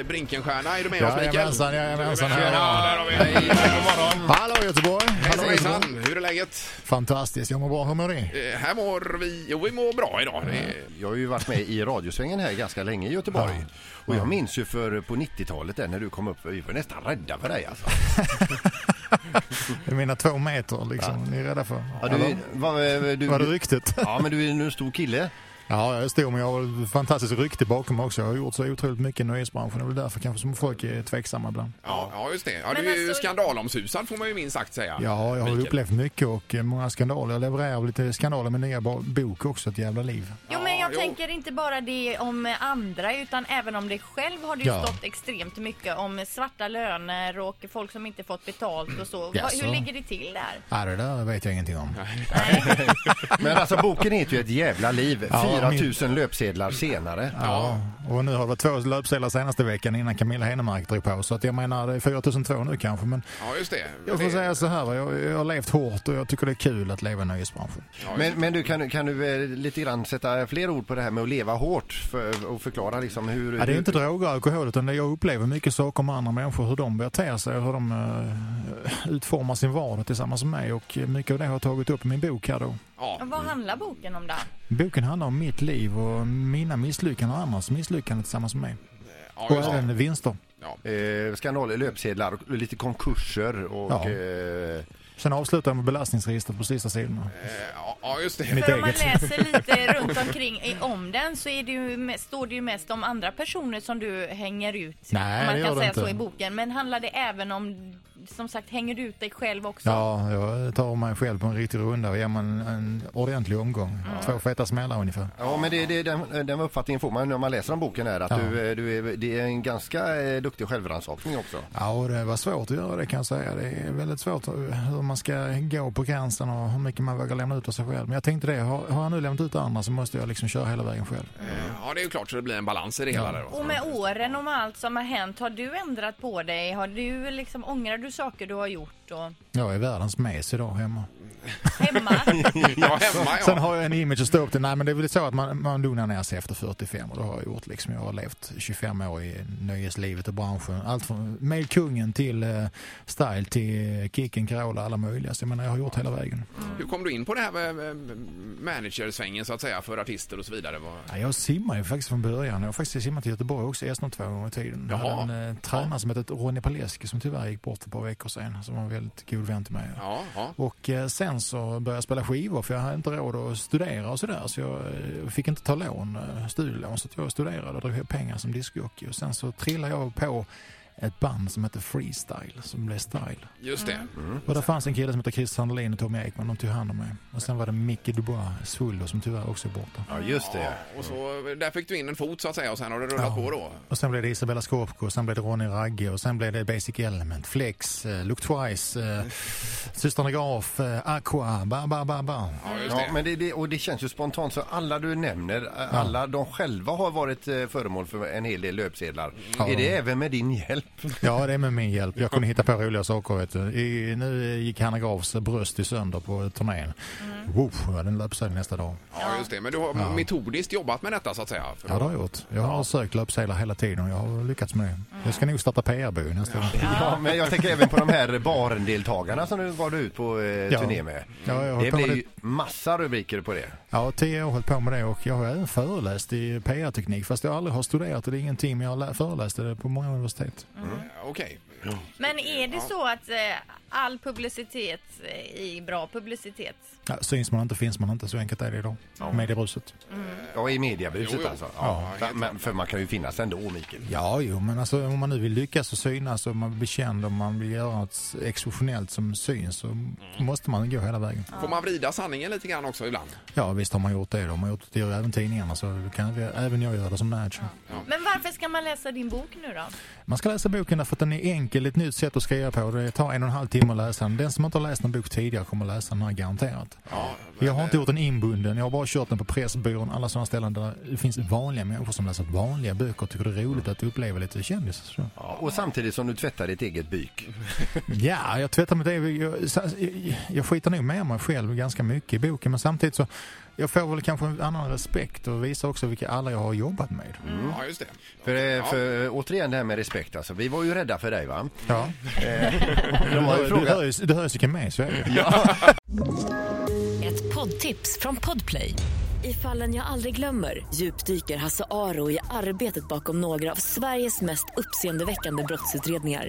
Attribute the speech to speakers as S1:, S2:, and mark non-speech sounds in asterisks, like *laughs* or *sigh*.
S1: eh, Brinkenstierna. Är du med oss Mikael?
S2: Jajamensan, jajamensan. här.
S3: Ja, där har vi. Hej, god morgon.
S2: Hallå Göteborg! Hallå,
S1: Hejsan, hejsan. Hur är läget?
S2: Fantastiskt, jag mår bra. Hur mår ni?
S1: Eh, Här mår vi... Jo, vi mår bra idag. Det är-
S2: Mm.
S4: Jag har ju varit med i radiosvängen här ganska länge i Göteborg. Och jag minns ju för på 90-talet där när du kom upp, vi var nästan rädda för dig alltså.
S2: Jag menar två meter liksom, ni är rädda för?
S4: Ja, du, var, du,
S2: Var det ryktet? *laughs*
S4: Ja, men du är ju en stor kille.
S2: Ja, jag är stor men jag har ett fantastiskt rykte bakom också. Jag har gjort så otroligt mycket i nöjesbranschen. Det är väl därför kanske som folk är tveksamma ibland.
S1: Ja, ja, just det. Ja,
S5: Men
S1: du är ju
S5: alltså-
S1: skandalomsusad får man ju minst sagt säga.
S2: Ja, jag har
S1: Mikael.
S2: upplevt mycket och eh, många skandaler. Jag levererar lite skandaler med nya ba- bok också, ett jävla liv.
S5: Jo, men jag
S1: jo.
S5: tänker inte bara det om eh, andra utan även om dig själv har det ju
S2: Ja.
S5: stått extremt mycket om svarta löner och folk som inte fått betalt och så. Va-
S2: Jaså?
S5: Hur ligger det till där?
S2: Nej, det där vet jag ingenting om.
S4: Men alltså boken heter ju Ett jävla liv.
S2: Ja,
S4: 4000 löpsedlar senare.
S2: Ja, och nu har det varit två löpsedlar senaste veckan innan Camilla Henemark drog på. Så att jag menar, det är 4200 nu kanske. Men
S1: Ja, just det.
S2: jag får
S1: Det-
S2: säga så här, va, jag, jag har levt hårt och jag tycker det är kul att leva i nöjesbranschen.
S4: Men, men du, kan, du- kan du eh, lite grann sätta fler ord på det här med att leva hårt för, och förklara liksom
S2: Ja,
S4: hur...
S2: det är
S4: hur-
S2: inte droger och alkohol utan det- jag upplever mycket saker med andra människor, hur de beter sig och hur de eh, utformar sin vardag tillsammans med mig. Och mycket av det har jag tagit upp i min bok här då.
S1: Ja.
S5: Vad handlar boken om då?
S2: Boken handlar om mitt liv och mina misslyckanden och andras misslyckanden tillsammans med mig.
S1: Ja,
S2: Och
S1: just det.
S2: även vinster.
S1: Ja.
S4: Eh, skandaler, löpsedlar och lite konkurser och...
S2: Ja.
S4: Eh,
S2: Sen avslutar jag med belastningsregistret på sista sidorna.
S1: Eh, ja, Ja, just det.
S2: Mitt
S5: För om man
S2: eget.
S5: läser
S2: *laughs*
S5: lite runt omkring i- om den så är det ju, me- står det ju mest om andra personer som du hänger ut.
S2: Nej,
S5: om
S2: det
S5: man
S2: gör
S5: kan
S2: det
S5: säga
S2: inte.
S5: så i boken. Men handlar det även om, som sagt, hänger du ut dig själv också?
S2: Ja, jag tar mig själv på en riktig runda och ger mig en, en ordentlig omgång. Två feta smällar ungefär.
S4: Ja, men det, det, den, den uppfattningen får man när man läser om boken här att
S2: Ja.
S4: du, eh, du är, det är en ganska eh, duktig självrannsakning också.
S2: Ja, och det var svårt att göra det kan jag säga. Det är väldigt svårt hur man ska gå på gränsen och hur mycket man vågar lämna ut av sig själv. Men jag tänkte det, har, har jag nu lämnat ut andra så måste jag liksom köra hela vägen själv.
S1: Ja, det är ju klart så det blir en balans i det hela där då.
S5: Och med åren och med allt som har hänt, har du ändrat på dig? Har du liksom, ångrar du saker du har gjort? Och
S2: Jag är världens mes idag hemma.
S5: hemma?
S1: Ja, hemma
S2: Sen
S1: ja.
S2: har jag en image att stå upp till. Nej, men det är väl så att man, man lugnar ner sig efter 45 och det har jag gjort. Liksom. Jag har levt 25 år i nöjeslivet och branschen. Allt från med kungen till eh, style till eh, Kicken, Carola, alla möjliga. Så jag menar, jag har gjort hela vägen.
S1: Hur kom du in på det här med med managersvängen så att säga för artister och så vidare? Vad-
S2: Ja, jag simmar ju faktiskt från början. Jag har faktiskt simmat i Göteborg också, Esnå två gånger i tiden. Jag
S1: Jaha.
S2: hade en eh, tränare som hette Ronny Paleski som tyvärr gick bort för ett par veckor sedan. Som var en väldigt god vän till mig.
S1: Ja, ja.
S2: Och eh, sen så började jag spela skivor för jag hade inte råd att studera och sådär. Så jag eh, fick inte ta lån, eh, studielån. Så att jag studerade och drog hem pengar som discjockey. Och sen så trillade jag på ett band som hette Freestyle, som blev Style.
S1: Just det.
S5: Mm.
S2: Och där fanns en kille som hette Chris Sandelin och Tommy Ekman, de tog hand om mig. Och sen var det Micke Dubois, Svullo, som tyvärr också är borta.
S4: Ja, just det.
S1: Och så, där fick du in en fot så att säga och sen har det rullat på då.
S2: Och sen blev det Isabella Scorpico, och sen blev det Ronny Ragge och sen blev det Basic Element, Flex, eh, Look Twice, eh, Systrarna Graf, eh, Aqua, ba ba ba ba.
S1: Ja, just
S4: Ja,
S1: det.
S4: men det, det, och det känns ju spontant så alla du nämner, eh, alla de själva har varit eh, föremål för en hel del löpsedlar.
S2: Ja.
S4: Är det även med din hjälp?
S2: Ja, det är med min hjälp. Jag kunde hitta på roliga saker. Vet du. I, nu gick Hanna Grafs bröst i sönder på turnén. Wow, jag hade en löpsedel nästa dag.
S1: Ja, just det. Men du har metodiskt jobbat med detta så att säga. För
S2: Ja, det har jag gjort. Jag har sökt löpsedlar hela tiden och jag har lyckats med det. Jag ska nog starta PR-byrå nästa gång.
S4: *laughs* Ja, men jag tänker även på de här barndeltagarna som du var du ut på eh,
S2: Ja.
S4: turné med.
S2: Ja, jag har hållit
S4: det
S2: på med
S4: blir ju massa rubriker på det.
S2: Ja, tio år har hållit på med det och jag har även föreläst i PR-teknik fast jag aldrig har studerat det. Det är ingenting, men jag har lä- föreläst det på många universitet.
S1: Okej.
S5: Men är det så att eh, all publicitet eh, i bra publicitet?
S2: Ja, syns man inte finns man inte, så enkelt är det idag. Mediebruset.
S4: Ja, i
S1: Jo,
S4: mediabuset
S1: jo.
S4: alltså.
S1: Ja,
S4: Ja,
S1: helt
S4: men, för man kan ju finnas ändå, Mikael.
S2: Ja, jo, men alltså, om man nu vill lyckas och synas och man blir känd och man vill göra något exceptionellt som syns så måste man gå hela vägen.
S1: Får man vrida sanningen lite grann också ibland?
S2: Ja, visst har man gjort det. då. Man har gjort det gör även tidningarna så kan vi, även jag göra det som manager.
S5: Men varför ska man läsa din bok nu då?
S2: Man ska läsa boken därför att den är enkel, ett nytt sätt att skriva på. Det tar en och en halv timme att läsa den. Den som inte har läst en bok tidigare kommer att läsa den här garanterat.
S1: Ja,
S2: Jag har inte gjort den inbunden. Jag har bara kört den på Pressbyrån, alla sådana ställen där det finns vanliga människor som läser vanliga böcker och tycker det är roligt att uppleva lite kändisar. så.
S4: Ja, och samtidigt som du tvättar ditt eget byk.
S2: Ja, jag tvättar mitt eget. Jag, jag, jag skiter nog med mig själv ganska mycket i boken men samtidigt så jag får väl kanske en annan respekt och visar också vilka alla jag har jobbat med.
S1: Ja, just det.
S4: För, eh,
S1: ja.
S4: för eh, återigen det här med respekt alltså. Vi var ju rädda för dig va?
S2: Ja.
S4: De
S2: Du
S4: har
S2: hör,
S4: ju
S2: du
S4: frågat.
S2: hör, ju- du hör ju vilken med så är det.
S6: Ett poddtips från Podplay. I fallen jag aldrig glömmer djupdyker Hasse Aro i arbetet bakom några av Sveriges mest uppseendeväckande brottsutredningar.